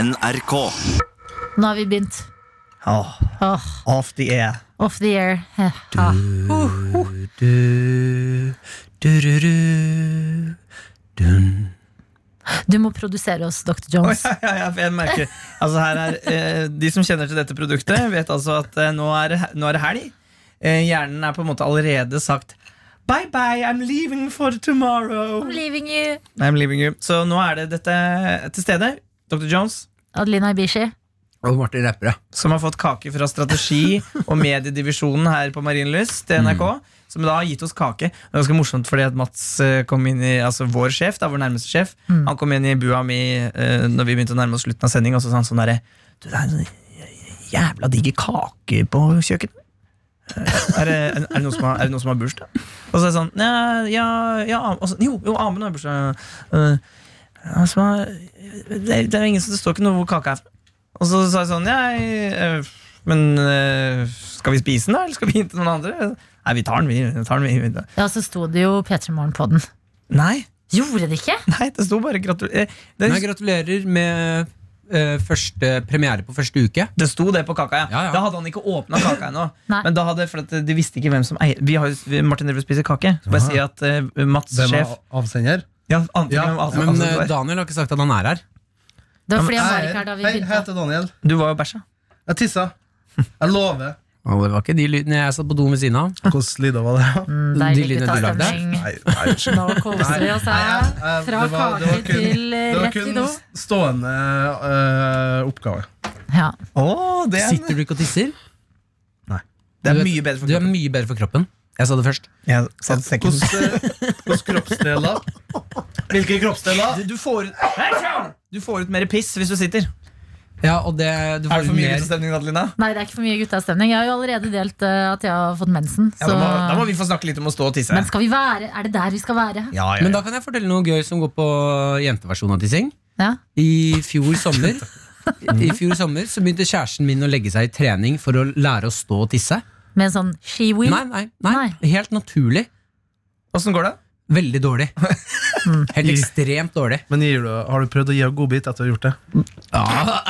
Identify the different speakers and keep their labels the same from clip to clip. Speaker 1: NRK.
Speaker 2: Nå har vi begynt.
Speaker 3: Åh,
Speaker 2: Åh,
Speaker 3: off the air.
Speaker 2: off the air. Eh, ah.
Speaker 3: Du, du, du, du. Dun.
Speaker 2: Du må produsere oss, Dr.
Speaker 3: Oi,
Speaker 2: Jones.
Speaker 3: ja, ja, ja, for jeg merker altså her er, eh, De som kjenner til dette produktet, vet altså at eh, nå, er, det he- nå er det helg. Eh, hjernen er på en måte allerede sagt Bye bye, I'm leaving for tomorrow.
Speaker 2: I'm leaving you.
Speaker 3: I'm leaving you. Så nå er det dette til stede. Dr. Jones,
Speaker 2: Adelina Ibishi.
Speaker 4: Og Martin Rappere.
Speaker 3: som har fått kake fra strategi- og mediedivisjonen her på Marienlyst til NRK. Som da har gitt oss kake. Det er ganske morsomt fordi at Mats eh, kom inn i, altså vår sjef, da, vår nærmeste sjef,
Speaker 2: Mm.
Speaker 3: han kom inn i bua mi eh, når vi begynte å nærme oss slutten av sending, og så sa han sånn derre Du, det er en sånn jævla digg kake på kjøkkenet. Eh, Er det, er det, noen, som har, er det noen som har bursdag? Og så er det sånn Ja, ja, ja og så, Jo, jo Amund har bursdag. Eh, han som har- det, det er jo ingen som Det står ikke noe hvor kaka er fra. Og så sa jeg sånn Ja, jeg, eh, men eh, skal vi spise den, da? Eller skal vi gi den til noen andre? Nei, vi tar den, vi. vi tar den, vi.
Speaker 2: Ja, så sto det jo P3 Morgen på den.
Speaker 3: Nei,
Speaker 2: Gjorde det ikke?
Speaker 3: nei, det sto bare gratulerer. Det,
Speaker 4: Nei, gratulerer med eh, første premiere på første uke.
Speaker 3: det sto det på kaka, ja.
Speaker 4: Ja, ja.
Speaker 3: Da hadde han ikke åpna kaka ennå.
Speaker 2: Nei.
Speaker 3: Men da hadde, for at de visste ikke hvem som eier vi har, jo- Martin Nerve spiser kake. Så bare si at eh, Mats,
Speaker 5: Hvem er
Speaker 3: sjef
Speaker 5: av- avsender?
Speaker 3: ja, ante ikke
Speaker 5: Ja,
Speaker 3: hvem- altså,
Speaker 4: Men
Speaker 3: altså,
Speaker 4: eh,
Speaker 3: du, var.
Speaker 4: Daniel har ikke sagt at han er her.
Speaker 2: Det var fordi han var
Speaker 5: Hei,
Speaker 2: ikke her da vi
Speaker 5: hei, jeg
Speaker 2: begynte.
Speaker 5: heter Daniel.
Speaker 3: du var jo bæsja.
Speaker 5: Jeg tissa. Jeg lover.
Speaker 4: Og det var ikke de lydene jeg satt på do ved siden av.
Speaker 5: Hvordan lyder var det?
Speaker 2: Mm,
Speaker 4: De
Speaker 2: Deilig
Speaker 4: lydene du lagde der?
Speaker 2: guttastemning.
Speaker 5: Nei, nei, unnskyld.
Speaker 2: Nå koser vi oss
Speaker 5: Nei,
Speaker 2: her.
Speaker 5: jeg- jeg-
Speaker 2: Eh, Fra
Speaker 5: eh, det var- det var
Speaker 2: kake
Speaker 5: kun-
Speaker 2: til eh,
Speaker 5: Det var
Speaker 2: rett i do.
Speaker 5: kun stående øh, oppgave.
Speaker 2: Ja.
Speaker 3: Å, det, er,
Speaker 4: Sitter du ikke og tisser?
Speaker 3: det
Speaker 4: Du
Speaker 3: er
Speaker 4: vet-
Speaker 3: mye bedre for
Speaker 4: Du er
Speaker 3: kroppen.
Speaker 4: mye bedre for kroppen. Jeg sa det først.
Speaker 3: Jeg satt sekken.
Speaker 5: Hvordan eh, hvordan kroppsdeler? Hvilke kroppsdeler?
Speaker 3: Du, du, får ut, Hei, du får ut mer piss hvis du sitter.
Speaker 4: Ja, og det, du
Speaker 3: Er
Speaker 4: får
Speaker 3: det for mye
Speaker 4: mer
Speaker 3: guttestemning, Adelina?
Speaker 2: Nei, det er ikke for mye guttastemning. Jeg har jo allerede delt eh, at jeg har fått mensen.
Speaker 3: Ja, da, må, da må
Speaker 2: Så.
Speaker 3: vi få snakke litt om å stå og tisse.
Speaker 2: Men skal vi være Er det der vi skal være?
Speaker 3: ja, ja,
Speaker 4: Men
Speaker 3: ja.
Speaker 4: da kan jeg fortelle noe gøy som går på jenteversjonen av tissing.
Speaker 2: Ja.
Speaker 4: I fjor sommer I fjor sommer så begynte kjæresten min å legge seg i trening for å lære å stå og tisse.
Speaker 2: Med en sånn she-wheel?
Speaker 4: Nei, nei, nei,
Speaker 2: Nei.
Speaker 4: Helt naturlig.
Speaker 3: Åssen går det?
Speaker 4: Veldig dårlig. Helt ekstremt dårlig.
Speaker 5: Men gir du, har du prøvd å gi henne godbit etter å ha gjort det?
Speaker 4: Ja.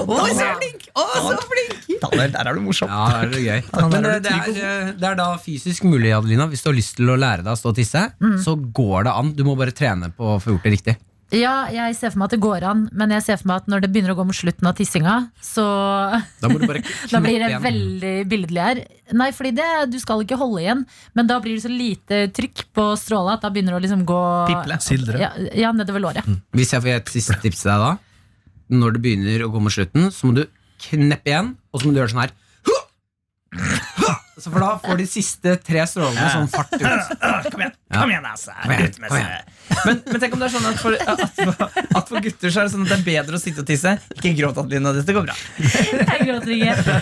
Speaker 3: Oi,
Speaker 4: så
Speaker 3: flink! Der er du morsom.
Speaker 4: Ja, det er det gøy.
Speaker 3: Ja, der
Speaker 4: Men det,
Speaker 3: er du
Speaker 4: det, er, eh, det er da fysisk mulig, Adelina. Hvis du har lyst til å lære deg å stå og tisse,
Speaker 2: Mm.
Speaker 4: så går det an. Du må bare trene på å få gjort det riktig.
Speaker 2: Ja, jeg ser for meg at det går an, men jeg ser for meg at når det begynner å gå mot slutten av tissinga, så
Speaker 4: Da må du bare
Speaker 2: da blir det
Speaker 4: kneppe igjen.
Speaker 2: veldig billedlig her. Nei, fordi det, du skal ikke holde igjen, men da blir det så lite trykk på stråla at da begynner det å liksom gå
Speaker 3: Piple. Mm.
Speaker 5: Sildre.
Speaker 2: Ja, ja, nedover låret.
Speaker 4: Hvis jeg får gi et siste tips til deg da Når det begynner å gå mot slutten Så må du kneppe igjen Og så må du gjøre sånn her så For da får de siste tre strålene sånn fart ut
Speaker 3: Kom igjen, kom igjen, altså. Guttmesse. Men, men tenk om det er sånn at for, at, for, at for gutter så er det sånn at det er bedre å sitte og tisse. Ikke gråt, Adelina. Dette går bra.
Speaker 2: Jeg gråter ikke.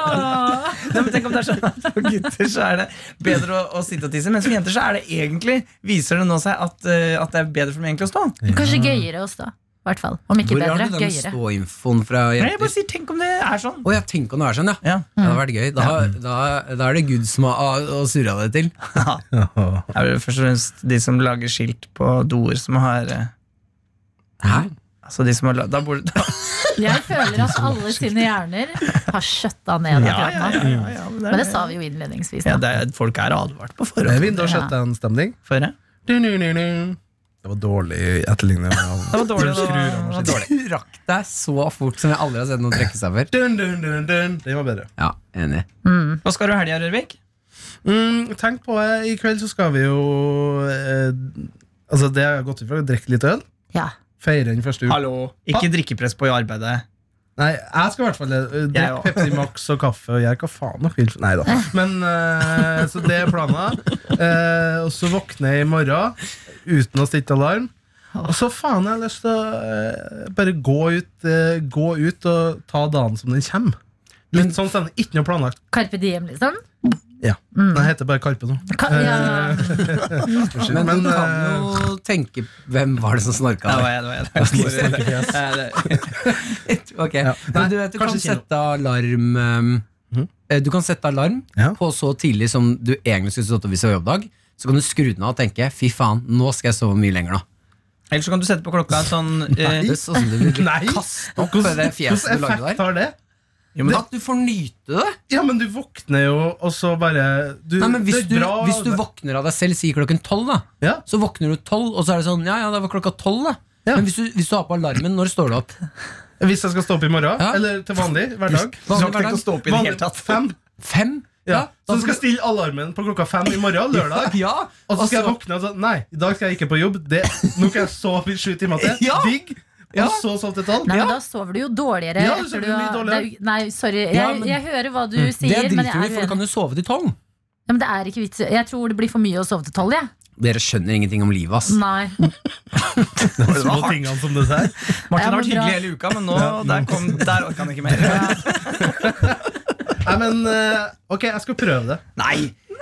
Speaker 2: Åh.
Speaker 3: Nei, men tenk om det er sånn at For gutter så er det bedre å, å sitte og tisse, men for jenter så er det egentlig viser det nå seg at, eh, at det er bedre for dem egentlig å stå.
Speaker 2: Kanskje gøyere oss, da. I hvert fall. Om ikke
Speaker 4: Hvor har
Speaker 2: bedre,
Speaker 4: du den
Speaker 2: gøyere.
Speaker 4: ståinfoen fra
Speaker 3: Nei, jeg
Speaker 4: jenter?
Speaker 3: bare sier, Tenk om det er sånn.
Speaker 4: Åja, tenk om det er sånn, ja,
Speaker 3: Ja.
Speaker 4: Det hadde vært gøy Da, da, da er det Gud som har har surret det til
Speaker 3: Det er vel først og fremst de som lager skilt på doer, som har eh,
Speaker 4: Hæ?
Speaker 5: Mm.
Speaker 3: Altså de som har la- da bor, da,
Speaker 2: Jeg føler at alle sine hjerner har skjøtta ned.
Speaker 3: ja,
Speaker 2: akkurat
Speaker 3: ja,
Speaker 2: nå.
Speaker 3: ja, ja, ja, men
Speaker 2: Men det sa vi jo innledningsvis. Da.
Speaker 3: Ja, det er, folk er advart på
Speaker 5: Det er
Speaker 3: forhånd.
Speaker 5: vindu- og shutdown-stemning.
Speaker 3: For det.
Speaker 5: Det var dårlig etterligning.
Speaker 3: det var dårlig. Det var, det var
Speaker 5: Dun,
Speaker 3: dårlig.
Speaker 4: Du rakk deg så fort som jeg aldri har sett noen trekke seg før
Speaker 5: dun, dun, dun. Det var bedre.
Speaker 4: Ja, enig
Speaker 3: Hva skal du i helga, Rørvik?
Speaker 5: Mm, tenk på det. I kveld så skal vi jo eh, Altså, det har jeg gått ut fra. Drikke litt øl.
Speaker 2: Ja.
Speaker 5: Feire den første uka.
Speaker 3: Ikke drikkepress på i arbeidet.
Speaker 5: Nei, jeg skal i hvert fall uh,
Speaker 3: Jeg
Speaker 5: drikke
Speaker 3: også.
Speaker 5: Pepsi Max og kaffe. Og jeg hva faen dere vil Nei da. Men, eh, så det er planen. Eh, og så våkner jeg i morgen uten å stikke alarm. Og så faen, jeg har lyst til å eh, bare gå ut, eh, gå ut og ta dagen som den kommer. Litt sånn stemning. Ikke noe planlagt.
Speaker 2: Carpe diem, liksom.
Speaker 5: Ja. Den heter bare Karpe nå.
Speaker 2: Ka
Speaker 3: Eh,
Speaker 2: ja.
Speaker 5: Unnskyld.
Speaker 4: Men,
Speaker 5: Men,
Speaker 4: du kan jo tenke Hvem var det som
Speaker 3: Det
Speaker 4: snorka deg?
Speaker 3: var jeg, det var jeg. Det var jeg. Eh, det-
Speaker 4: Ok,
Speaker 5: Nei,
Speaker 4: men du vet du kan
Speaker 5: kanskje kino.
Speaker 4: sette alarm ehm, eh, Du kan sette alarm
Speaker 5: Ja.
Speaker 4: på så tidlig som du egentlig skulle stått opp hvis det var jobbdag. Så kan du skru den av og tenke fy faen, nå skal jeg sove mye lenger. nå
Speaker 3: Eller så kan du sette på klokka et sånn eh,
Speaker 4: Det er sånn du vil
Speaker 5: Nei.
Speaker 4: kaste opp med det fjeset du
Speaker 5: Hvilken
Speaker 4: lagde
Speaker 5: eh, effekt
Speaker 4: der.
Speaker 5: har det?
Speaker 3: jo, men,
Speaker 4: At du får nyte det!
Speaker 5: Ja, men du våkner jo, og så bare du,
Speaker 4: Nei, men hvis
Speaker 5: det
Speaker 4: du,
Speaker 5: er bra,
Speaker 4: hvis du våkner av deg selv, sier klokken tolv, da.
Speaker 5: ja.
Speaker 4: Så våkner du tolv, og så er det sånn Ja, ja, det var klokka tolv, da.
Speaker 5: Ja.
Speaker 4: Men hvis du, hvis du har på alarmen, når står du opp?
Speaker 5: Hvis jeg skal stå opp i morgen,
Speaker 4: Ja.
Speaker 5: eller til vanlig hver dag
Speaker 3: du har ikke
Speaker 4: Vanlig
Speaker 3: tenkt å
Speaker 4: hverdag.
Speaker 3: stå opp i det
Speaker 5: Vanlig-
Speaker 3: hele tatt.
Speaker 5: Fem.
Speaker 4: Fem? da
Speaker 5: Ja. så du
Speaker 4: får
Speaker 5: skal stille alarmen på klokka fem i morgen, lørdag.
Speaker 4: Ja,
Speaker 5: Og så skal jeg
Speaker 4: altså-
Speaker 5: våkne og sånn Nei, i dag skal jeg ikke på jobb. Det, nå kan jeg sove i sju timer til.
Speaker 4: Ja.
Speaker 5: Digg.
Speaker 4: Ja.
Speaker 5: Og så sove til tolv.
Speaker 2: Nei, men Da sover du jo dårligere.
Speaker 5: Ja, du
Speaker 2: etter
Speaker 5: sover mye
Speaker 2: har-
Speaker 5: dårligere.
Speaker 2: Det er jo- Nei, sorry. Jeg,
Speaker 4: Ja, men- Mm.
Speaker 2: jeg hører hva du
Speaker 4: Det
Speaker 2: sier,
Speaker 4: driter
Speaker 2: men jeg
Speaker 4: vi i,
Speaker 2: er
Speaker 4: for du
Speaker 2: uenig.
Speaker 4: kan jo sove til tolv.
Speaker 2: Ja, men det er ikke vits. Jeg tror det blir for mye å sove til tolv. jeg.
Speaker 4: Dere skjønner ingenting om livet, ass.
Speaker 2: Nei.
Speaker 5: De små tingene som det der.
Speaker 2: Ja,
Speaker 3: Martin har
Speaker 2: men
Speaker 3: vært
Speaker 2: bra.
Speaker 3: hyggelig hele uka, men nå der, kom, der orka han ikke mer.
Speaker 5: Nei, men eh, ok, jeg skal prøve det.
Speaker 3: Nei!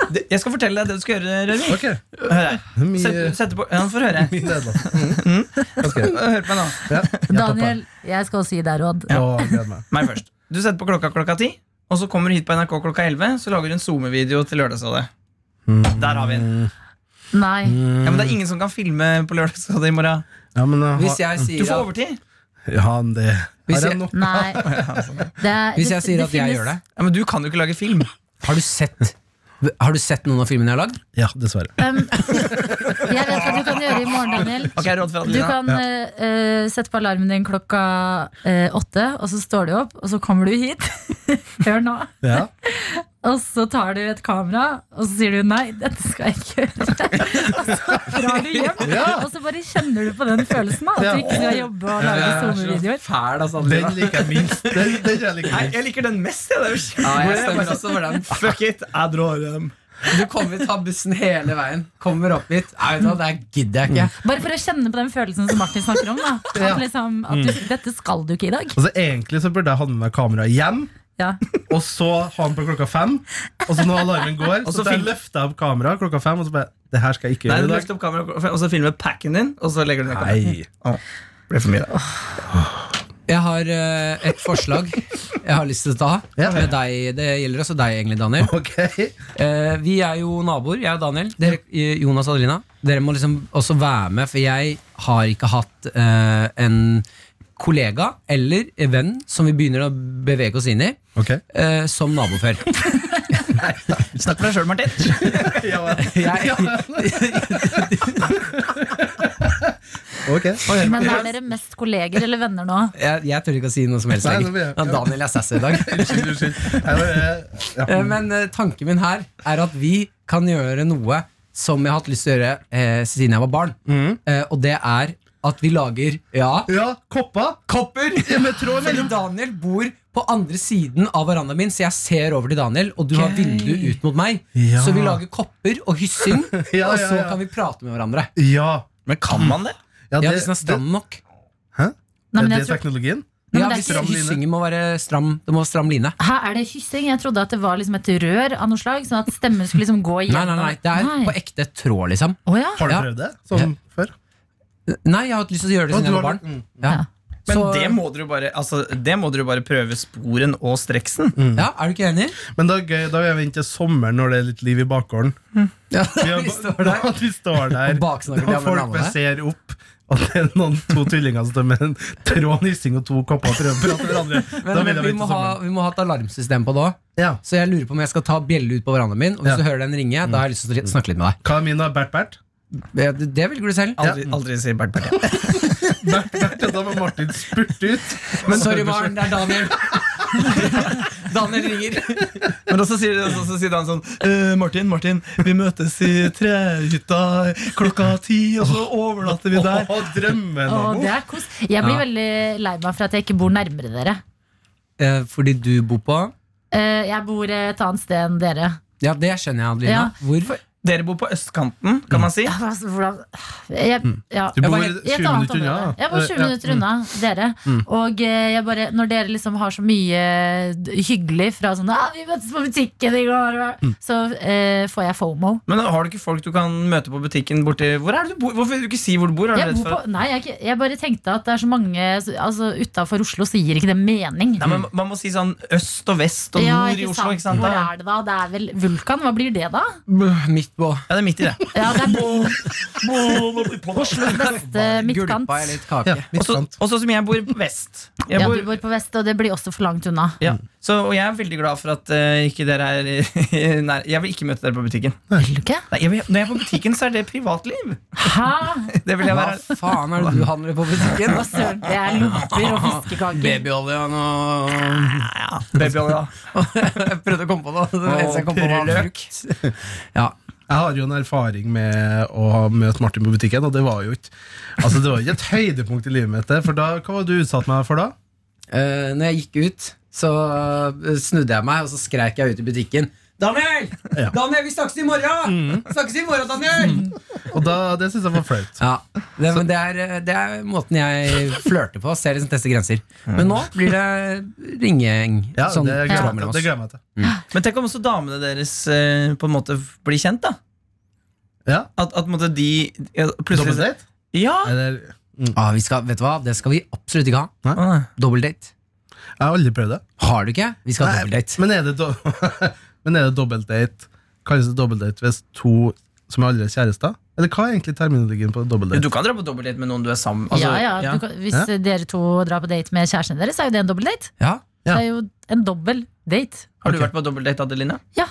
Speaker 3: Det, jeg skal fortelle deg det du skal gjøre, Rørvik.
Speaker 5: Ok,
Speaker 3: Hør her.
Speaker 5: Mye-
Speaker 3: Sett- sette på, ja, Få høre.
Speaker 5: mye Mm. nedlagt.
Speaker 4: Mm.
Speaker 3: Hør på meg nå.
Speaker 5: Ja, jeg
Speaker 2: Daniel, jeg skal også gi deg råd.
Speaker 5: topper. Å, jeg gleder meg.
Speaker 3: Meg først. Du setter på klokka klokka ti, og så kommer du hit på NRK klokka 11, så lager du en SoMe-video til Lørdagsrådet. Der har vi den.
Speaker 2: Nei.
Speaker 3: Ja, men det er ingen som kan filme på Lørdagsrådet i morgen.
Speaker 5: Ja, men jeg har,
Speaker 4: Hvis jeg
Speaker 3: Du
Speaker 4: sier
Speaker 3: får
Speaker 4: at,
Speaker 3: overtid.
Speaker 5: ja, men det
Speaker 4: Hvis
Speaker 5: har
Speaker 4: jeg-
Speaker 5: jeg nok.
Speaker 2: Nei. Det,
Speaker 4: hvis jeg, sier at jeg gjør det
Speaker 3: Ja, men du kan jo ikke lage film.
Speaker 4: Har du sett, har du sett noen av filmene jeg har lagd?
Speaker 5: Ja, dessverre.
Speaker 2: Um, jeg vet hva du kan gjøre i morgen, Daniel.
Speaker 3: Ok, råd fra
Speaker 2: Du
Speaker 3: Adelina.
Speaker 2: kan eh, eh, sette på alarmen din klokka eh, åtte, og så står du opp, og så kommer du hit. Hør nå.
Speaker 5: Ja.
Speaker 2: Og så tar du et kamera, og så sier du nei, dette skal jeg ikke gjøre. og så drar du hjem, og så bare kjenner du på den følelsen da, at du ikke skal jobbe og lage SoMe-videoer.
Speaker 4: fæl, ass,
Speaker 5: Den liker jeg minst. Den, den
Speaker 3: altså,
Speaker 5: jeg liker
Speaker 3: Nei,
Speaker 5: minst.
Speaker 3: jeg liker den mest, jeg. Det er jo
Speaker 4: Ja,
Speaker 3: kjempebra.
Speaker 4: jeg stemmer også for den.
Speaker 3: Fuck it, jeg drar hjem.
Speaker 4: Du kommer, tar bussen hele veien, kommer opp hit. Nei, vet du hva, det her gidder jeg
Speaker 5: Mm.
Speaker 4: ikke.
Speaker 2: Bare for å kjenne på den følelsen som Martin snakker om. da. At liksom, at du,
Speaker 4: Mm.
Speaker 2: dette skal du ikke i dag.
Speaker 5: Altså, egentlig så burde jeg ha med meg kamera hjem,
Speaker 2: Ja.
Speaker 5: og så ha den på klokka fem. Og så når alarmen går,
Speaker 3: Og
Speaker 5: så
Speaker 3: så
Speaker 5: tar jeg
Speaker 3: film-
Speaker 5: løfta opp kameraet klokka fem, og så bare Det her skal jeg ikke
Speaker 3: Nei,
Speaker 5: gjøre
Speaker 3: du
Speaker 5: i dag.
Speaker 3: løfter opp kameraet, og så filmer packen din, og så legger du ned kameraet.
Speaker 5: Nei.
Speaker 3: Blir for mye, da.
Speaker 4: Jeg har eh, et forslag jeg har lyst til å ta
Speaker 5: Ja.
Speaker 4: med deg. Det gjelder også deg, egentlig, Daniel.
Speaker 5: Ok.
Speaker 4: Eh, vi er jo naboer, jeg og Daniel. Dere, eh, Jonas og Adelina. Dere må liksom også være med, for jeg har ikke hatt eh, en kollega eller venn som vi begynner å bevege oss inn i,
Speaker 5: Ok.
Speaker 4: eh, som nabo før.
Speaker 3: Snakk for deg sjøl, Martin.
Speaker 5: Ja,
Speaker 4: Jeg,
Speaker 5: ok.
Speaker 2: Men er dere mest kolleger eller venner nå?
Speaker 4: jeg, jeg tør ikke å si noe som helst
Speaker 5: Nei,
Speaker 4: lenger.
Speaker 5: nå blir jeg-
Speaker 4: Ja, Daniel er sassy i dag.
Speaker 5: Unnskyld, unnskyld. Jeg bare-
Speaker 4: Eh,
Speaker 5: ja.
Speaker 4: Men eh, tanken min her er at vi kan gjøre noe som jeg har hatt lyst til å gjøre eh, siden jeg var barn.
Speaker 5: Mm.
Speaker 4: Eh, og det er at vi lager Ja,
Speaker 5: Ja, koppa
Speaker 4: kopper!
Speaker 5: med tråd
Speaker 4: Fordi
Speaker 5: mellom
Speaker 4: Daniel bor på andre siden av verandaen min, så jeg ser over til Daniel, og du har
Speaker 2: Gøy.
Speaker 4: vindu ut mot meg.
Speaker 5: Ja.
Speaker 4: Så vi lager kopper og hyssing,
Speaker 5: Ja,
Speaker 4: og
Speaker 5: ja,
Speaker 4: så
Speaker 5: ja.
Speaker 4: kan vi prate med hverandre.
Speaker 5: Ja.
Speaker 3: Men kan man det?
Speaker 4: Ja,
Speaker 5: det-
Speaker 4: Hvis den er stram nok.
Speaker 2: Nei,
Speaker 5: Er
Speaker 2: men
Speaker 5: det
Speaker 2: jeg tror,
Speaker 5: teknologien?
Speaker 2: Nei,
Speaker 4: Ja,
Speaker 2: men det er
Speaker 4: hvis
Speaker 2: ikke-
Speaker 4: hyssingen må være stram, det må være stram line.
Speaker 2: her er det hyssing. Jeg trodde at det var liksom et rør av noe slag, sånn at stemmen skulle liksom gå
Speaker 4: Nei,
Speaker 2: igjennom.
Speaker 4: nei, nei, det er på ekte tråd, liksom.
Speaker 2: Å ja.
Speaker 5: Har du
Speaker 4: Ja.
Speaker 5: prøvd det? Som før?
Speaker 4: Nei, jeg har hatt lyst til å gjøre det
Speaker 5: Å,
Speaker 4: siden
Speaker 5: du
Speaker 4: jeg var
Speaker 5: har-
Speaker 4: barn.
Speaker 5: mm.
Speaker 4: Ja.
Speaker 3: Men
Speaker 4: Så-
Speaker 3: det må dere jo bare, altså, det må dere jo bare prøve sporen og streksen.
Speaker 5: Mm.
Speaker 4: Ja, er du ikke enig?
Speaker 5: Men da er det gøy, da vil jeg vente til sommeren når det er litt liv i bakgården.
Speaker 4: Ja,
Speaker 5: Vi har-
Speaker 4: vi står der
Speaker 5: At vi står der
Speaker 4: og baksnakker de
Speaker 5: Da
Speaker 4: andre
Speaker 5: folk bare
Speaker 4: damene.
Speaker 5: ser opp at det er noen to tvillinger som står med en tråd nissing og to kopper og prøver å prate med hverandre. Da
Speaker 4: Men,
Speaker 5: vil
Speaker 4: men
Speaker 5: jeg
Speaker 4: vi,
Speaker 5: vente
Speaker 4: må
Speaker 5: til
Speaker 4: ha,
Speaker 5: sommeren.
Speaker 4: vi må ha et alarmsystem på det òg.
Speaker 5: Ja.
Speaker 4: Så jeg lurer på om jeg skal ta bjelle ut på verandaen min. Og hvis
Speaker 5: Ja.
Speaker 4: du hører den ringe, da har jeg lyst til å snakke litt med deg.
Speaker 5: Hva er min da? Bert-Bert?
Speaker 4: Eh, Det, det velger du selv.
Speaker 3: Aldri, aldri si Bert Bert. ja.
Speaker 5: Bert-Bert, Da må Martin spurte ut.
Speaker 4: Men sorry, Maren, det er Daniel. Daniel ringer.
Speaker 3: Men også sier, også, så sier han sånn «Eh, Martin, Martin, vi møtes i trehytta klokka ti, og så overnatter vi der.
Speaker 5: Å, drømmen
Speaker 2: Å,
Speaker 5: om
Speaker 2: det er kos. Jeg blir
Speaker 4: Ja.
Speaker 2: veldig lei meg for at jeg ikke bor nærmere dere.
Speaker 4: Eh, Fordi du bor på
Speaker 2: Eh, jeg bor eh, et annet sted enn dere.
Speaker 4: Ja, det skjønner jeg, Adelina.
Speaker 2: Ja.
Speaker 4: Hvor?
Speaker 3: Dere bor på østkanten, kan man si.
Speaker 2: Ja, men altså, hvordan jeg,
Speaker 3: Mm.
Speaker 2: ja.
Speaker 5: Du bor
Speaker 4: bare-
Speaker 5: 20
Speaker 2: I et annet
Speaker 5: minutter
Speaker 2: område.
Speaker 5: unna. Eh,
Speaker 2: Jeg bor 20 minutter unna dere.
Speaker 3: Mm.
Speaker 2: Og eh, jeg bare, når dere liksom har så mye d- hyggelig fra sånn ah, 'Vi møttes på butikken i går',
Speaker 3: Mm.
Speaker 2: så eh, får jeg fomo.
Speaker 3: Men har du ikke folk du kan møte på butikken borti Hvor er det du bor? Hvorfor vil du ikke si hvor du bor? Er du
Speaker 2: Jeg,
Speaker 3: redd
Speaker 2: bor
Speaker 3: for
Speaker 2: på,
Speaker 3: at-
Speaker 2: nei, jeg, er ikke- jeg bare tenkte at det er så mange altså, utafor Oslo, så gir ikke det mening.
Speaker 3: Nei, men Man må si sånn øst og vest og
Speaker 2: Ja,
Speaker 3: nord i
Speaker 2: ikke
Speaker 3: Oslo. ikke sant?
Speaker 2: Hvor
Speaker 3: Da-
Speaker 2: er det da? Det er vel Vulkan? Hva blir det, da?
Speaker 4: Bøh, Midt på.
Speaker 3: Ja, det er midt i det.
Speaker 2: Ja, det er Oslos beste
Speaker 4: Eh,
Speaker 2: midtkant.
Speaker 4: Gulpa i litt kake.
Speaker 5: Ja,
Speaker 3: Også,
Speaker 5: midtkant.
Speaker 3: også som jeg bor på vest. Jeg
Speaker 2: Ja,
Speaker 3: bor,
Speaker 2: du bor på vest, og det blir også for langt unna.
Speaker 3: ja. Så, og jeg er veldig glad for at eh, ikke dere er i nær Jeg vil ikke møte dere på butikken.
Speaker 2: Vil du ikke?
Speaker 3: Nei, jeg vil, når jeg er på butikken, så er det privatliv.
Speaker 2: Hæ?
Speaker 3: Det vil jeg
Speaker 4: Hva
Speaker 3: være
Speaker 4: faen er det du handler på butikken?
Speaker 2: Hva søren, det er lomper og fiskekaker.
Speaker 4: Babyolje og noe
Speaker 3: ja, Babyolja.
Speaker 4: Jeg prøvde å komme på noe. Det eneste jeg kom på var
Speaker 3: purreløk.
Speaker 4: Ja.
Speaker 5: Jeg har jo en erfaring med å ha møtt Martin på butikken, og det var jo ikke Altså det var ikke et høydepunkt i livet mitt. det, For da, Hva var det du utsatt meg for da?
Speaker 4: Eh, når jeg gikk ut, så eh, snudde jeg meg, og så skreik jeg ut i butikken. Daniel!
Speaker 5: Ja.
Speaker 4: Daniel, vi snakkes i morgen! Snakkes i morgen, Daniel!
Speaker 5: Og da, Det syns jeg var flaut.
Speaker 4: Ja, det, men det er, eh, det er måten jeg flørter på. Ser liksom tester grenser. Men nå blir det ringegjeng.
Speaker 5: Ja,
Speaker 4: sånn,
Speaker 5: det gleder
Speaker 4: fra
Speaker 5: jeg altså. meg
Speaker 4: mellom
Speaker 5: til.
Speaker 4: oss.
Speaker 5: det gleder jeg meg til.
Speaker 3: Men tenk om også damene deres eh, på en måte blir kjent, da.
Speaker 5: Ja,
Speaker 3: At, at på en måte de ja,
Speaker 5: Double
Speaker 3: plutselig
Speaker 5: date?
Speaker 3: Ja!
Speaker 5: Eller, mm.
Speaker 4: ah, vi skal, vet du hva? Det skal vi absolutt ikke ha.
Speaker 3: Ah,
Speaker 4: Dobbeldate.
Speaker 5: Jeg har aldri prøvd det.
Speaker 4: Har du ikke? Vi skal ha
Speaker 5: Nei,
Speaker 4: dobbeldate.
Speaker 5: Men er det, do men er det dobbeldate Kalles det dobbeldate hvis to som er allerede kjærester? Eller hva er egentlig terminologien på
Speaker 3: Jo,
Speaker 5: dobbeldate?
Speaker 3: Du kan dra på dobbeltdate med noen du er altså, sammen med.
Speaker 2: Ja, ja. Du kan, hvis
Speaker 5: Ja.
Speaker 2: dere to drar på date med kjærestene deres, er jo det en dobbel date.
Speaker 4: Ja.
Speaker 5: Ja.
Speaker 2: Det er jo en dobbel date.
Speaker 3: Har du
Speaker 5: Ok.
Speaker 3: vært på dobbeltdate, Adeline?
Speaker 2: Ja.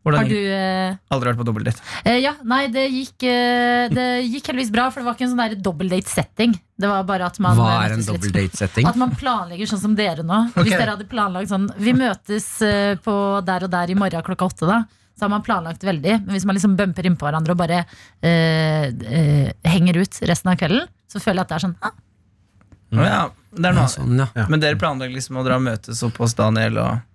Speaker 3: Hvordan
Speaker 2: Har du
Speaker 3: gikk det?
Speaker 2: eh,
Speaker 3: Aldri vært på dobbeltdate.
Speaker 2: eh, Ja, nei, det gikk, eh, det gikk heldigvis bra, for det var ikke en sånn der dobbeltdate-setting. Det var bare at man
Speaker 4: Hva
Speaker 2: eh,
Speaker 4: er en
Speaker 2: møttes litt-
Speaker 4: dobbeldate-setting?
Speaker 2: At man planlegger sånn som dere nå. Hvis dere hadde planlagt sånn Vi møtes eh, på der og der i morgen klokka åtte, da. Så har man planlagt veldig. Men hvis man liksom bumper innpå hverandre og bare eh, eh, henger ut resten av kvelden, så føler jeg at det er sånn ah,
Speaker 3: Ja, det er noe
Speaker 4: Ja,
Speaker 3: annet.
Speaker 4: sånn, ja.
Speaker 5: Ja.
Speaker 3: Men dere planlegger liksom å dra og møtes opp hos Daniel og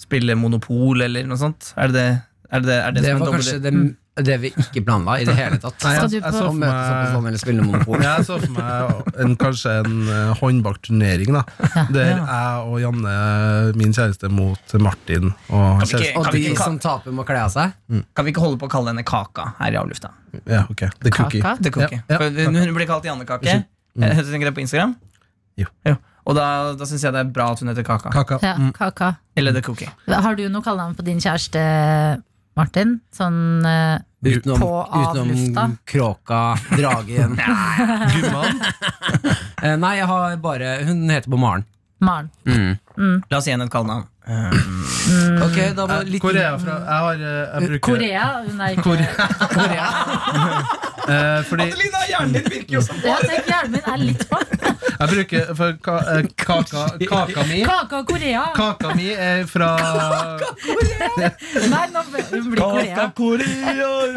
Speaker 3: spille Monopol eller noe sånt? Er det det, er det, det, er det,
Speaker 4: Det
Speaker 3: som en
Speaker 4: var kanskje
Speaker 3: dobbelt-
Speaker 4: det, det vi ikke planla i det hele tatt.
Speaker 5: Nei,
Speaker 2: Skal
Speaker 5: jeg,
Speaker 2: du
Speaker 5: jeg,
Speaker 2: på-
Speaker 5: så
Speaker 4: Å
Speaker 5: for
Speaker 4: møtes opp på
Speaker 5: meg
Speaker 4: sånn eller spille monopol.
Speaker 5: Ja, jeg så for meg en, kanskje en eh, håndbakturnering, da. Der jeg og Janne, min kjæreste, mot Martin og
Speaker 3: Kan vi ikke-
Speaker 5: kjæresten.
Speaker 4: Og
Speaker 3: Kan vi
Speaker 4: de
Speaker 3: ikke-
Speaker 4: som taper, må kle av seg.
Speaker 3: Kan vi ikke holde på å kalle henne Kaka her i avlufta?
Speaker 5: Ja, ok. The cookie.
Speaker 2: kaka.
Speaker 3: Det kan vi
Speaker 5: Ja,
Speaker 3: ikke.
Speaker 5: ja.
Speaker 3: For hun- Hun blir kalt Janne-kake.
Speaker 5: Unnskyld. Mm.
Speaker 3: Eh, Tenker dere på Instagram?
Speaker 5: Jo.
Speaker 3: Og da, da syns jeg det er bra at hun heter Kaka.
Speaker 5: Kaka.
Speaker 2: Ja, kaka.
Speaker 3: Eller The Cookie.
Speaker 2: Har du noe kallenavn på din kjæreste, Martin? Sånn eh,
Speaker 4: Utenom,
Speaker 2: På avlufta.
Speaker 4: utenom kråka, dragen
Speaker 5: Gumman.
Speaker 4: Eh, Nei, jeg har bare Hun heter på Maren.
Speaker 2: Maren?
Speaker 5: Mm.
Speaker 3: La oss gi henne et kallenavn.
Speaker 4: Ok, da var litt
Speaker 5: Eh, Korea fra Jeg har eh, jeg bruker,
Speaker 2: Korea? Hun er ikke
Speaker 5: Korea. Eh, fordi
Speaker 3: Adelina, hjernen din virker jo som
Speaker 2: Ja, tenk, hjernen min er litt på.
Speaker 5: jeg bruker for ka, eh, kaka, kaka mi
Speaker 2: Kaka og Korea!
Speaker 5: Kaka mi er fra
Speaker 2: Nei, nå blir det Korea.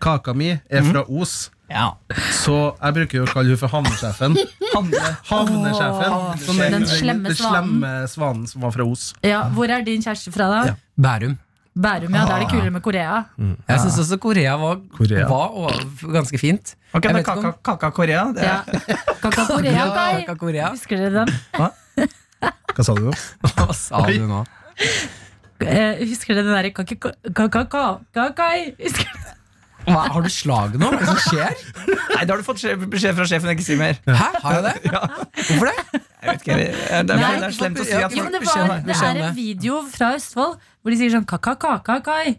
Speaker 5: Kaka mi er fra Os,
Speaker 3: Ja.
Speaker 5: så jeg bruker jo å kalle hun for havnesjefen.
Speaker 3: Handle.
Speaker 5: Havnesjefen.
Speaker 2: Åh,
Speaker 5: som
Speaker 2: den slemme
Speaker 5: den slemme svanen som var fra Os.
Speaker 2: Ja, hvor er din kjæreste fra, da?
Speaker 5: Ja.
Speaker 4: Bærum.
Speaker 2: Bærum, ja. Da er det kulere med Korea.
Speaker 4: Jeg syns også Korea var,
Speaker 5: Korea.
Speaker 4: var over- ganske fint.
Speaker 3: Ok,
Speaker 4: Jeg
Speaker 3: da
Speaker 4: vet ikke
Speaker 3: Kaka, kaka Korea. Det er.
Speaker 2: Ja. Kaka Korea, Kai.
Speaker 4: Kaka Korea.
Speaker 2: Husker dere den?
Speaker 5: Hva sa du nå?
Speaker 4: Hva sa
Speaker 5: Oi.
Speaker 4: du nå?
Speaker 2: Eh, husker dere den derre kaka- kaka kaka Kai? Husker dere den?
Speaker 4: Hva, har du slag nå? Hva er det som skjer?
Speaker 3: Nei, da har du fått skje- beskjed fra sjefen ikke si mer.
Speaker 4: Hæ? Har jeg det? Hvorfor det?
Speaker 3: Jeg vet ikke, det er, det
Speaker 2: Nei,
Speaker 3: er, det er slemt å si
Speaker 4: ja,
Speaker 3: at
Speaker 2: Jo, men
Speaker 3: folk
Speaker 2: det, var,
Speaker 3: beskjed-
Speaker 2: det er en video fra Østfold hvor de sier sånn kaka kaka Kai.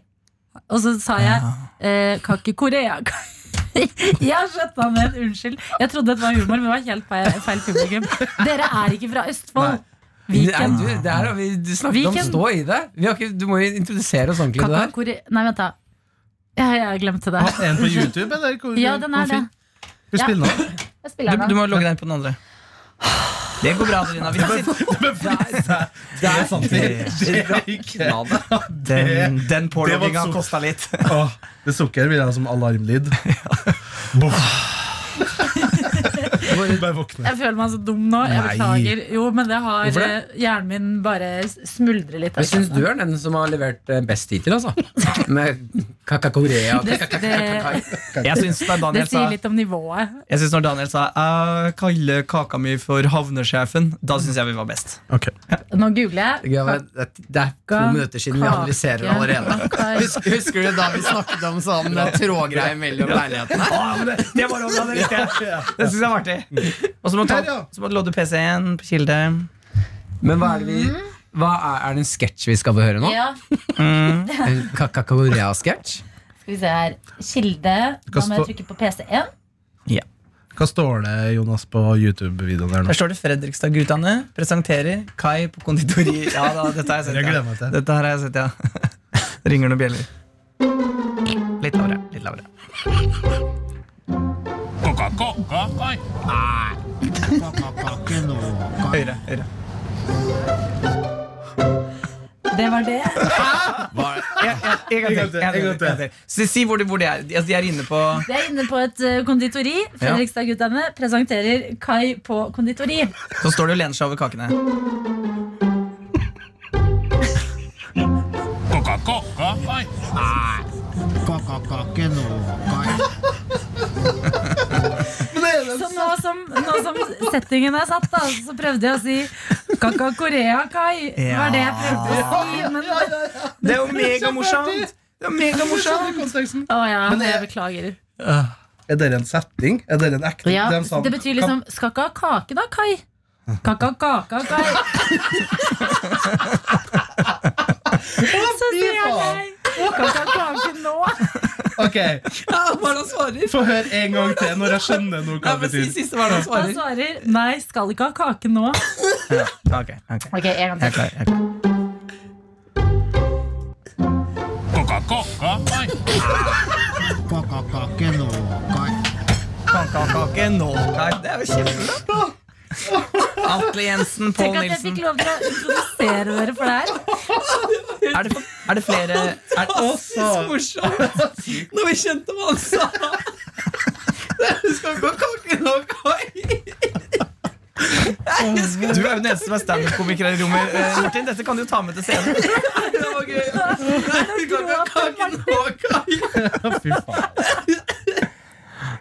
Speaker 2: Og så sa jeg eh, kake Korea Kai. Jeg skjøtta ned, unnskyld. Jeg trodde det var humor, men det var helt feil, feil publikum. Dere er ikke fra Østfold. Viken.
Speaker 4: Nei, du, det her har vi du snakket om.
Speaker 2: Viken.
Speaker 4: Stå i det. Vi har ikke, du må jo introdusere oss ordentlig til det
Speaker 2: Kaka
Speaker 4: her.
Speaker 2: Korea Nei, vent, da. Ja, jeg glemte det.
Speaker 5: Er den på YouTube, eller? Hvor,
Speaker 2: Ja, den er
Speaker 5: hvor
Speaker 2: det.
Speaker 5: fin? Vi
Speaker 2: Ja.
Speaker 5: spiller den.
Speaker 2: Jeg spiller
Speaker 3: Du,
Speaker 2: den.
Speaker 3: du må logge deg inn på den andre. Det går bra, Adelina. Vi kan sitte
Speaker 5: Det er sant. Det, det er ikke
Speaker 4: Knall det.
Speaker 3: Den, den
Speaker 5: Det
Speaker 3: pålogginga
Speaker 5: var sånn. så-
Speaker 3: kosta litt.
Speaker 5: Åh, Det sukker vil jeg ha som alarmlyd. Boff. Bare våkne.
Speaker 2: Jeg føler meg så dum nå. Jeg
Speaker 5: Nei.
Speaker 2: beklager. Jo, men det har
Speaker 4: Hvorfor
Speaker 2: eh, Hjernen min bare s- smuldrer litt.
Speaker 4: Jeg syns du er den som har levert eh, best hittil, altså. Med Kaka Korea.
Speaker 2: det, det,
Speaker 3: Jeg syns da
Speaker 2: det
Speaker 3: Daniel sa,
Speaker 2: sier litt om nivået.
Speaker 3: jeg syns når Daniel sa 'jeg kaller kaka mi for havnesjefen', da syns jeg vi var best.
Speaker 5: Ok.
Speaker 2: Nå googler jeg.
Speaker 4: Det er det er to minutter siden vi
Speaker 2: Kake.
Speaker 4: analyserer allerede.
Speaker 2: Kaka-
Speaker 4: Husker, husker du da vi snakket om sånn eh, trådgreie mellom leilighetene?
Speaker 5: Ah,
Speaker 3: det, var også, det
Speaker 5: Ja. Mm.
Speaker 3: syns jeg var artig. Og så må du
Speaker 5: Her, ja.
Speaker 3: ta- så må du lodde PC-en på Kilde.
Speaker 4: Men hva er det vi
Speaker 2: Mm.
Speaker 3: Mm.
Speaker 4: hva er, er det en sketsj vi skal få høre nå?
Speaker 2: Ja,
Speaker 4: En Kaka Korea-sketsj?
Speaker 2: skal Skal vi se her. Kilde. Da må
Speaker 5: stå-
Speaker 2: jeg trykke på PC1.
Speaker 5: Hva står det, Jonas, på YouTube-videoen her nå?
Speaker 3: Der står det Fredrikstad-guttene presenterer Kai på konditori. Ja da, dette har jeg sett,
Speaker 5: Jeg gleder
Speaker 3: ja.
Speaker 5: meg til.
Speaker 3: Dette her har jeg sett, ja. Ringer noen bjeller. Litt lavere. Litt lavere. Høyre. høyre
Speaker 2: Det var det.
Speaker 3: Ja, ja, En gang til. En gang til. en gang til. Si- Si hvor de, hvor de er. De, altså, de er inne på
Speaker 2: Vi er inne på et eh, konditori. Fredrikstad-guttene presenterer Kai på konditori.
Speaker 3: Så står de og lener seg over kakene.
Speaker 2: Så nå som, nå som settingen er satt, da, så prøvde jeg å si Kaka Korea Kai. Det var det jeg prøvde å si. Men,
Speaker 3: Det er jo megamorsomt! Det er jo megamorsomt!
Speaker 2: å, ja,
Speaker 5: Men jeg-
Speaker 2: jeg beklager.
Speaker 5: Er det en setting? Er det en sånn- ekte
Speaker 2: Ja,
Speaker 5: de sa-
Speaker 2: det betyr liksom Skal ikke ha kake, da, Kai. Kaka kaka Kai. Så sier jeg Kaka kake nå.
Speaker 5: Ok,
Speaker 4: Ja, hva er det han svarer?
Speaker 5: Få høre en gang til når jeg skjønner noe hva
Speaker 4: Nei,
Speaker 5: det
Speaker 4: men si
Speaker 5: betyr.
Speaker 4: siste hva er det han
Speaker 2: Han
Speaker 4: svarer.
Speaker 2: svarer nei, skal ikke ha kake nå.
Speaker 3: Ja, ok, ok.
Speaker 2: Ok, en gang
Speaker 3: Jeg er klar. Jeg er klar. Kakakake nå, Kai. Det er jo kjempebra. Atle Jensen, Pål
Speaker 2: Tenk at jeg
Speaker 3: Nilsen.
Speaker 2: fikk lov til å introdusere dere for det her.
Speaker 3: Er det, er det flere er,
Speaker 5: Å,
Speaker 4: Det er så
Speaker 5: så-
Speaker 4: morsomt! Når vi kjente hva han sa! Du skal ikke ha kake nå, Kai!
Speaker 3: Du er jo den eneste som er standup-komiker her i rommet. eh, Martin, dette kan du jo ta med til scenen.
Speaker 4: Det var gøy. Nei, du kan ikke ha kake nå, Kai!
Speaker 5: Fy faen.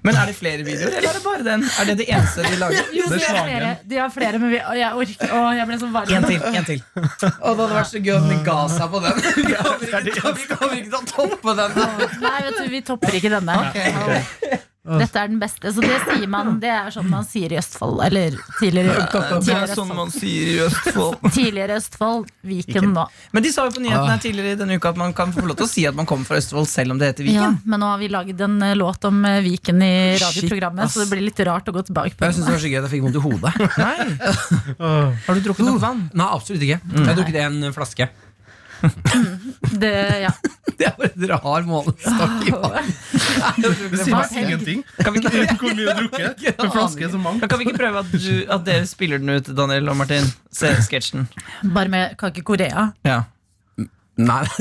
Speaker 3: Men er det flere videoer, eller er det bare den? Er det det eneste de lager?
Speaker 2: Jo,
Speaker 5: Det er
Speaker 2: de har
Speaker 5: slagen.
Speaker 2: flere, de har flere men vi, å, jeg orker Å, jeg ble så varm.
Speaker 3: En til. en til
Speaker 4: Å, det hadde vært så gøy om de ga seg på den. Vi kommer ikke til- vi kommer ikke til å toppe den.
Speaker 2: Nei, vet du, vi topper ikke denne. Dette er den beste. Så det sier man. Det er sånn man sier i Østfold. Eller tidligere,
Speaker 3: Det
Speaker 2: tidligere
Speaker 3: er sånn
Speaker 2: Østfold.
Speaker 3: man sier i Østfold. Ah.
Speaker 2: Tidligere Østfold, Viken
Speaker 3: Viken.
Speaker 2: nå.
Speaker 3: Men de sa jo på nyhetene her tidligere i denne uka at man kan få lov til å si at man kommer fra Østfold selv om det heter
Speaker 2: Ja,
Speaker 3: Viken.
Speaker 2: men nå har vi laget en eh, låt om eh, Viken i
Speaker 3: Shit,
Speaker 2: radioprogrammet,
Speaker 3: ass.
Speaker 2: så det blir litt rart å gå tilbake på.
Speaker 4: Jeg syns det var så gøy at jeg fikk vondt i hodet.
Speaker 3: Nei,
Speaker 5: Åh.
Speaker 3: Har du drukket noe vann?
Speaker 4: Nei, absolutt ikke.
Speaker 2: Mm.
Speaker 4: Jeg har drukket en flaske.
Speaker 2: Det, ja.
Speaker 4: Det er bare en rar målestokk i vann.
Speaker 5: Det sier meg ingenting.
Speaker 3: Kan vi ikke,
Speaker 5: Ut hvor mye du drukker. En flaske er så
Speaker 3: Ja,
Speaker 5: mangt.
Speaker 3: kan vi ikke prøve at, du, at dere spiller den ut, Daniel og Martin? Se sketsjen.
Speaker 2: Bare med Kake Korea.
Speaker 3: Ja.
Speaker 4: Nei,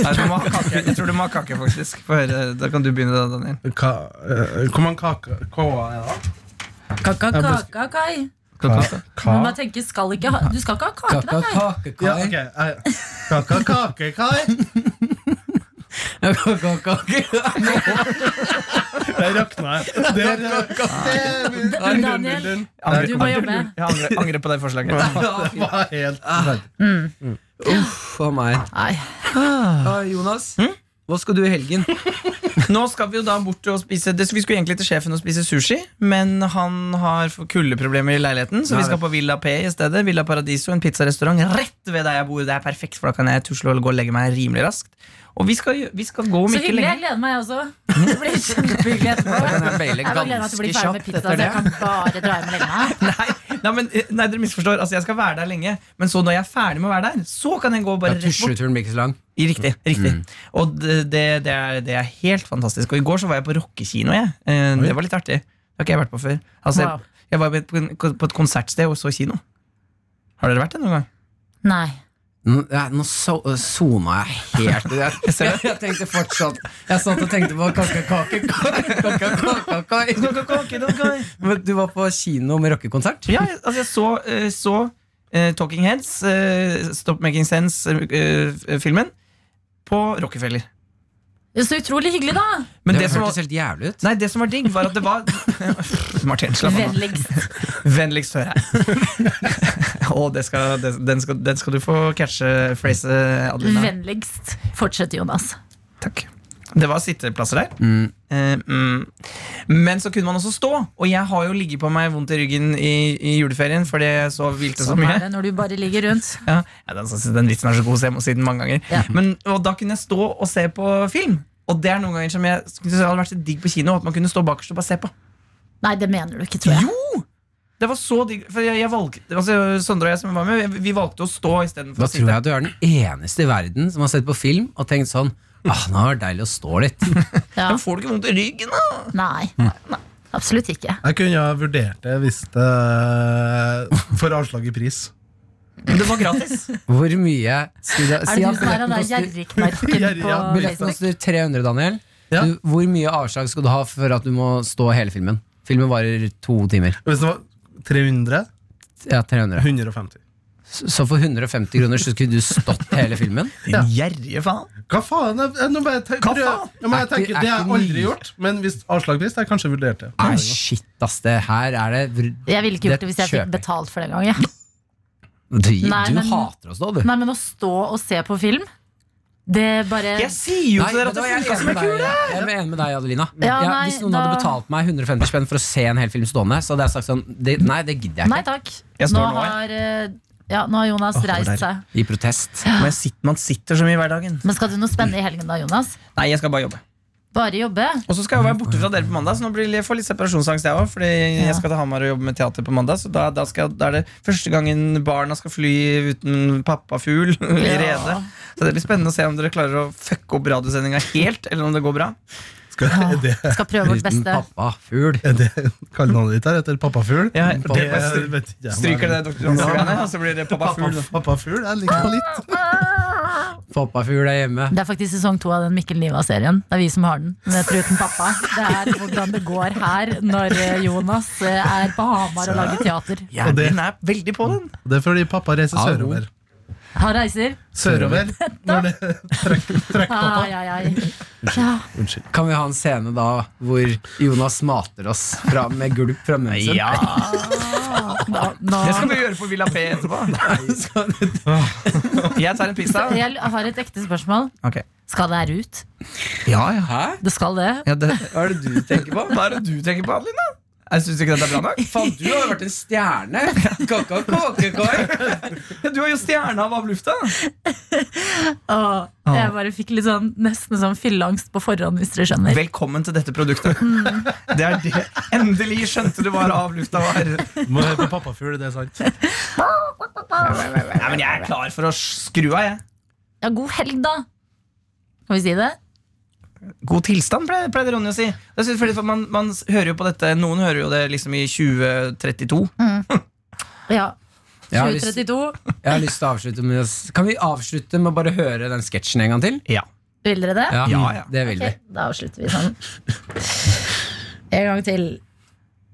Speaker 3: Nei, du må ha kake. Jeg tror du må ha kake, faktisk. Få høre. Da kan du begynne, da, Daniel.
Speaker 5: Hva, eh, hvor mange kaker K-a er det?
Speaker 2: Kaka
Speaker 5: Jeg bes-
Speaker 2: kaka kai.
Speaker 5: da?
Speaker 2: Men
Speaker 5: Ka-
Speaker 2: man tenker, skal ikke ha, du skal ikke ha kake, da,
Speaker 4: Kaka,
Speaker 2: Kai.
Speaker 4: kake,
Speaker 5: Ja,
Speaker 4: Kai.
Speaker 5: ok. eh, Kaka, kake, kai.
Speaker 4: Kaka, kake.
Speaker 5: Der rakna jeg. Der, der,
Speaker 2: Daniel,
Speaker 3: Angrer-
Speaker 2: du må jobbe.
Speaker 3: Jeg angrer, angrer på det forslaget.
Speaker 4: Ja,
Speaker 5: Det var helt
Speaker 4: Uff a meg.
Speaker 2: Nei. Hm?
Speaker 4: Ah, Jonas, hva skal du i helgen?
Speaker 3: Nå skal vi jo da bort og spise det, Vi skulle egentlig til sjefen og spise sushi, men han har kuldeproblemer i leiligheten, så vi skal på Villa P i stedet. Villa Paradiso, en pizzarestaurant rett ved der jeg bor. Det er perfekt, for da kan jeg tusle og gå og legge meg rimelig raskt. Og vi skal, gjø- vi skal gå om
Speaker 2: Så
Speaker 3: ikke
Speaker 2: hyggelig. Jeg
Speaker 3: lenge.
Speaker 2: gleder meg, jeg også. Det blir kjempehyggelig etterpå.
Speaker 4: Da kan jeg
Speaker 2: Jeg
Speaker 4: baile
Speaker 2: bare gleder meg til å bli
Speaker 4: ganske
Speaker 2: ferdig med
Speaker 4: kjapt
Speaker 2: pizza,
Speaker 4: etter
Speaker 2: så
Speaker 4: det.
Speaker 2: jeg kan bare dra hjem og legge meg.
Speaker 3: Nei, nei, men, eh, nei, dere misforstår. Altså, jeg skal være der lenge, men så når jeg er ferdig med å være der, så kan jeg gå
Speaker 4: Da
Speaker 3: bare rett bort.
Speaker 4: Tusjeturen blir ikke så lang.
Speaker 3: I Riktig. riktig Og det, det, det, er, det er helt fantastisk. Og i går så var jeg på rockekino, jeg. Eh, Det var litt artig. Det har ikke jeg vært på før. Altså,
Speaker 2: Wow.
Speaker 3: jeg, jeg var på en- på et konsertsted og så kino. Har dere vært det noen gang?
Speaker 2: Nei.
Speaker 4: Nå, ja, nå so, sona jeg helt jeg, jeg, jeg tenkte fortsatt Jeg satt og tenkte på kaka, kake, kaka, kaka, kaka. Men du var på kino med rockekonsert?
Speaker 3: Ja, jeg- altså, jeg så, eh, så eh, Talking Heads, eh, Stop Making Sense-filmen, på Rockefeller.
Speaker 2: Det er Så utrolig hyggelig, da.
Speaker 3: Men
Speaker 4: det
Speaker 3: det, som var,
Speaker 4: hørtes helt jævlig ut.
Speaker 3: nei, det som var digg, var at det var Eh, Martin, slapp av. nå.
Speaker 2: Vennligst.
Speaker 3: Vennligst hør her. Og det skal, det, den, skal, den skal du få catche, phrase, Adelina.
Speaker 2: Vennligst. Fortsett, Jonas.
Speaker 3: Takk. Det var sitteplasser der. Eh, mm. Men så kunne man også stå. Og jeg har jo ligget på meg vondt i ryggen i, i juleferien fordi jeg så vilte så
Speaker 2: Sånn er
Speaker 3: mye.
Speaker 2: det når du bare ligger rundt.
Speaker 3: Ja, ja, den, den vitsen er så god, så jeg må si den mange ganger.
Speaker 2: Ja.
Speaker 3: Men, og da kunne jeg stå og se på film. Og det er noen ganger som jeg skulle synes hadde vært så digg på kino. At man kunne stå bakerst og bare se på.
Speaker 2: Nei, det mener du ikke, tror jeg.
Speaker 3: Jo! Det var så digg. For jeg, jeg valgte, altså, Sondre og jeg som var med, vi- vi valgte å stå istedenfor
Speaker 4: Da
Speaker 3: å
Speaker 4: tror
Speaker 3: sitte.
Speaker 4: jeg at du er den eneste i verden som har sett på film og tenkt sånn Ah, nå har det vært deilig å stå litt.
Speaker 2: Ja.
Speaker 3: Men får du ikke vondt i ryggen, da?
Speaker 2: Nei. Absolutt ikke.
Speaker 5: Jeg kunne ha vurdert det hvis det får avslag i pris.
Speaker 3: Men det var gratis.
Speaker 4: Hvor mye skulle
Speaker 2: Er det du som er han der gjerrigknarken
Speaker 5: Gjerrig,
Speaker 2: på
Speaker 5: ja.
Speaker 4: Billetten altså.
Speaker 2: Facebook?
Speaker 4: koster 300, Daniel.
Speaker 5: Ja.
Speaker 4: Du, hvor mye avslag skal du ha for at du må stå hele filmen? Filmen varer to timer.
Speaker 5: Hvis det var 300
Speaker 4: Ja, 300.
Speaker 5: 150.
Speaker 4: Så så for 150 kroner så skulle du stått hele filmen?
Speaker 5: Ja.
Speaker 3: Din gjerrige faen.
Speaker 5: Hva faen? Jeg, jeg, nå bare tenk-
Speaker 3: Hva
Speaker 5: prøv-
Speaker 3: faen?
Speaker 5: Ja, men
Speaker 4: Er
Speaker 5: jeg
Speaker 4: ikke-
Speaker 5: tenker, det har
Speaker 4: er
Speaker 5: jeg
Speaker 4: ikke
Speaker 5: aldri
Speaker 4: mye.
Speaker 5: gjort, men hvis avslagpris det har jeg kanskje vurdert det.
Speaker 4: Nei, shit, ass. Det her er det vr-
Speaker 2: Jeg ville ikke gjort det hvis jeg fikk
Speaker 4: kjøper.
Speaker 2: betalt for det en gang. jeg.
Speaker 4: Du,
Speaker 2: Nei,
Speaker 4: du
Speaker 2: men-
Speaker 4: hater oss nå, du.
Speaker 2: Nei, men å stå og se på film, det bare
Speaker 3: Eh, Jeg sier jo
Speaker 4: Nei,
Speaker 3: til dere
Speaker 4: vet
Speaker 3: at
Speaker 4: du hva,
Speaker 3: det
Speaker 4: jeg er
Speaker 3: funka
Speaker 4: enig
Speaker 3: som en
Speaker 4: med deg,
Speaker 3: kule!
Speaker 4: Jeg er enig med deg, Adelina.
Speaker 2: Ja,
Speaker 4: Ja,
Speaker 2: nei,
Speaker 4: hvis noen
Speaker 2: da-
Speaker 4: hadde betalt meg 150 spenn for å se en hel film stående, så hadde jeg sagt sånn det, Nei, det gidder jeg
Speaker 2: Nei
Speaker 4: ikke.
Speaker 2: takk.
Speaker 3: Jeg
Speaker 2: Nå
Speaker 3: står nå, jeg.
Speaker 2: har, eh, ja, nå har Jonas
Speaker 3: Åh, det var
Speaker 2: reist
Speaker 3: deilig.
Speaker 2: seg.
Speaker 4: I protest.
Speaker 3: Men sitter, man sitter så mye i hverdagen.
Speaker 2: Men skal du noe spennende i helgen da, Jonas?
Speaker 3: Nei, jeg skal bare jobbe.
Speaker 2: Bare jobbe?
Speaker 3: Og så skal jeg jo være borte fra dere på mandag, så nå blir jeg får litt separasjonsangst jeg òg. Fordi jeg skal til Hamar og jobbe med teater på mandag. Så da, da, skal, da er det første gangen barna skal fly uten pappafugl i
Speaker 2: Ja.
Speaker 3: redet. Så det blir spennende å se om dere klarer å fucke opp radiosendinga helt, eller om det går bra.
Speaker 5: Skal, er det,
Speaker 2: Skal prøve vårt
Speaker 4: Uten
Speaker 2: beste.
Speaker 4: pappa, fugl.
Speaker 5: er det kallenavnet ditt her etter pappafugl?
Speaker 3: Ja,
Speaker 5: Det
Speaker 3: det- jeg
Speaker 5: vet ikke jeg.
Speaker 3: Stryker det doktorgradsgreiene, og så blir det
Speaker 5: Pappa-
Speaker 3: pappafugl.
Speaker 5: Pappafugl? Jeg liker det litt.
Speaker 4: Pappafugl er hjemme.
Speaker 2: Det er faktisk sesong to av den Mikkel Niva-serien. Det er vi som har den. Men jeg tror uten pappa. Det er hvordan det går her når eh, Jonas eh, er på Hamar og lager teater.
Speaker 5: Og det-
Speaker 3: Hjernen er veldig på den.
Speaker 5: Det er fordi pappa reiser
Speaker 4: Au.
Speaker 5: sørover.
Speaker 2: Han reiser.
Speaker 5: Sørover når det trekker trekk pappa.
Speaker 2: Ai, ai, ai. Ja.
Speaker 5: Unnskyld.
Speaker 4: Kan vi ha en scene da hvor Jonas mater oss fra, med gulp fra munnen sin?
Speaker 2: Nå, nå.
Speaker 3: Det skal vi gjøre på Villa P etterpå. Ah. Jeg tar en pizza.
Speaker 2: Jeg har et ekte spørsmål.
Speaker 3: Ok.
Speaker 2: Skal det her ut?
Speaker 3: Ja, ja. Hæ?
Speaker 2: Det skal det.
Speaker 3: Ja, det, hva er det du tenker på? Hva er det du tenker på, Adeline? Jeg syns ikke dette er bra nok.
Speaker 4: Faen, du har jo vært en stjerne! Kaka, kake, kai.
Speaker 3: Ja, Du har jo stjerna av lufta!
Speaker 2: Åh, jeg bare fikk litt sånn, nesten sånn fylleangst på forhånd, hvis dere skjønner.
Speaker 3: Velkommen til dette produktet. Det er det. Endelig skjønte du hva av lufta var.
Speaker 5: Må høre på pappafugl, det er sant.
Speaker 3: Nei, men Jeg er klar for å skru av, jeg.
Speaker 2: Ja, god helg, da! Kan vi si det?
Speaker 3: God tilstand, pleier, pleier Ronny å si. Det synes, jeg, fordi for man, man hører jo på dette Noen hører jo det liksom i 2032.
Speaker 2: Ja.
Speaker 4: Jeg har, lyst,
Speaker 2: 2032.
Speaker 4: jeg har lyst til å avslutte med å s- Kan vi avslutte med å bare høre den sketsjen en gang til?
Speaker 3: Ja.
Speaker 2: Vil dere det?
Speaker 3: Ja, ja.
Speaker 4: Det vil vi.
Speaker 2: Ok, da avslutter vi sånn. En gang til.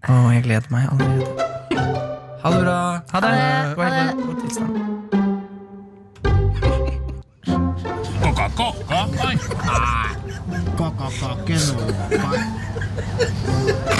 Speaker 3: Å, jeg gleder meg allerede.
Speaker 4: Ha det bra.
Speaker 3: Ha det.
Speaker 2: Ha det.
Speaker 3: God
Speaker 2: Ha
Speaker 3: helg.
Speaker 2: det.
Speaker 3: God tilstand.
Speaker 1: Coca-Cola. Coca-Cola.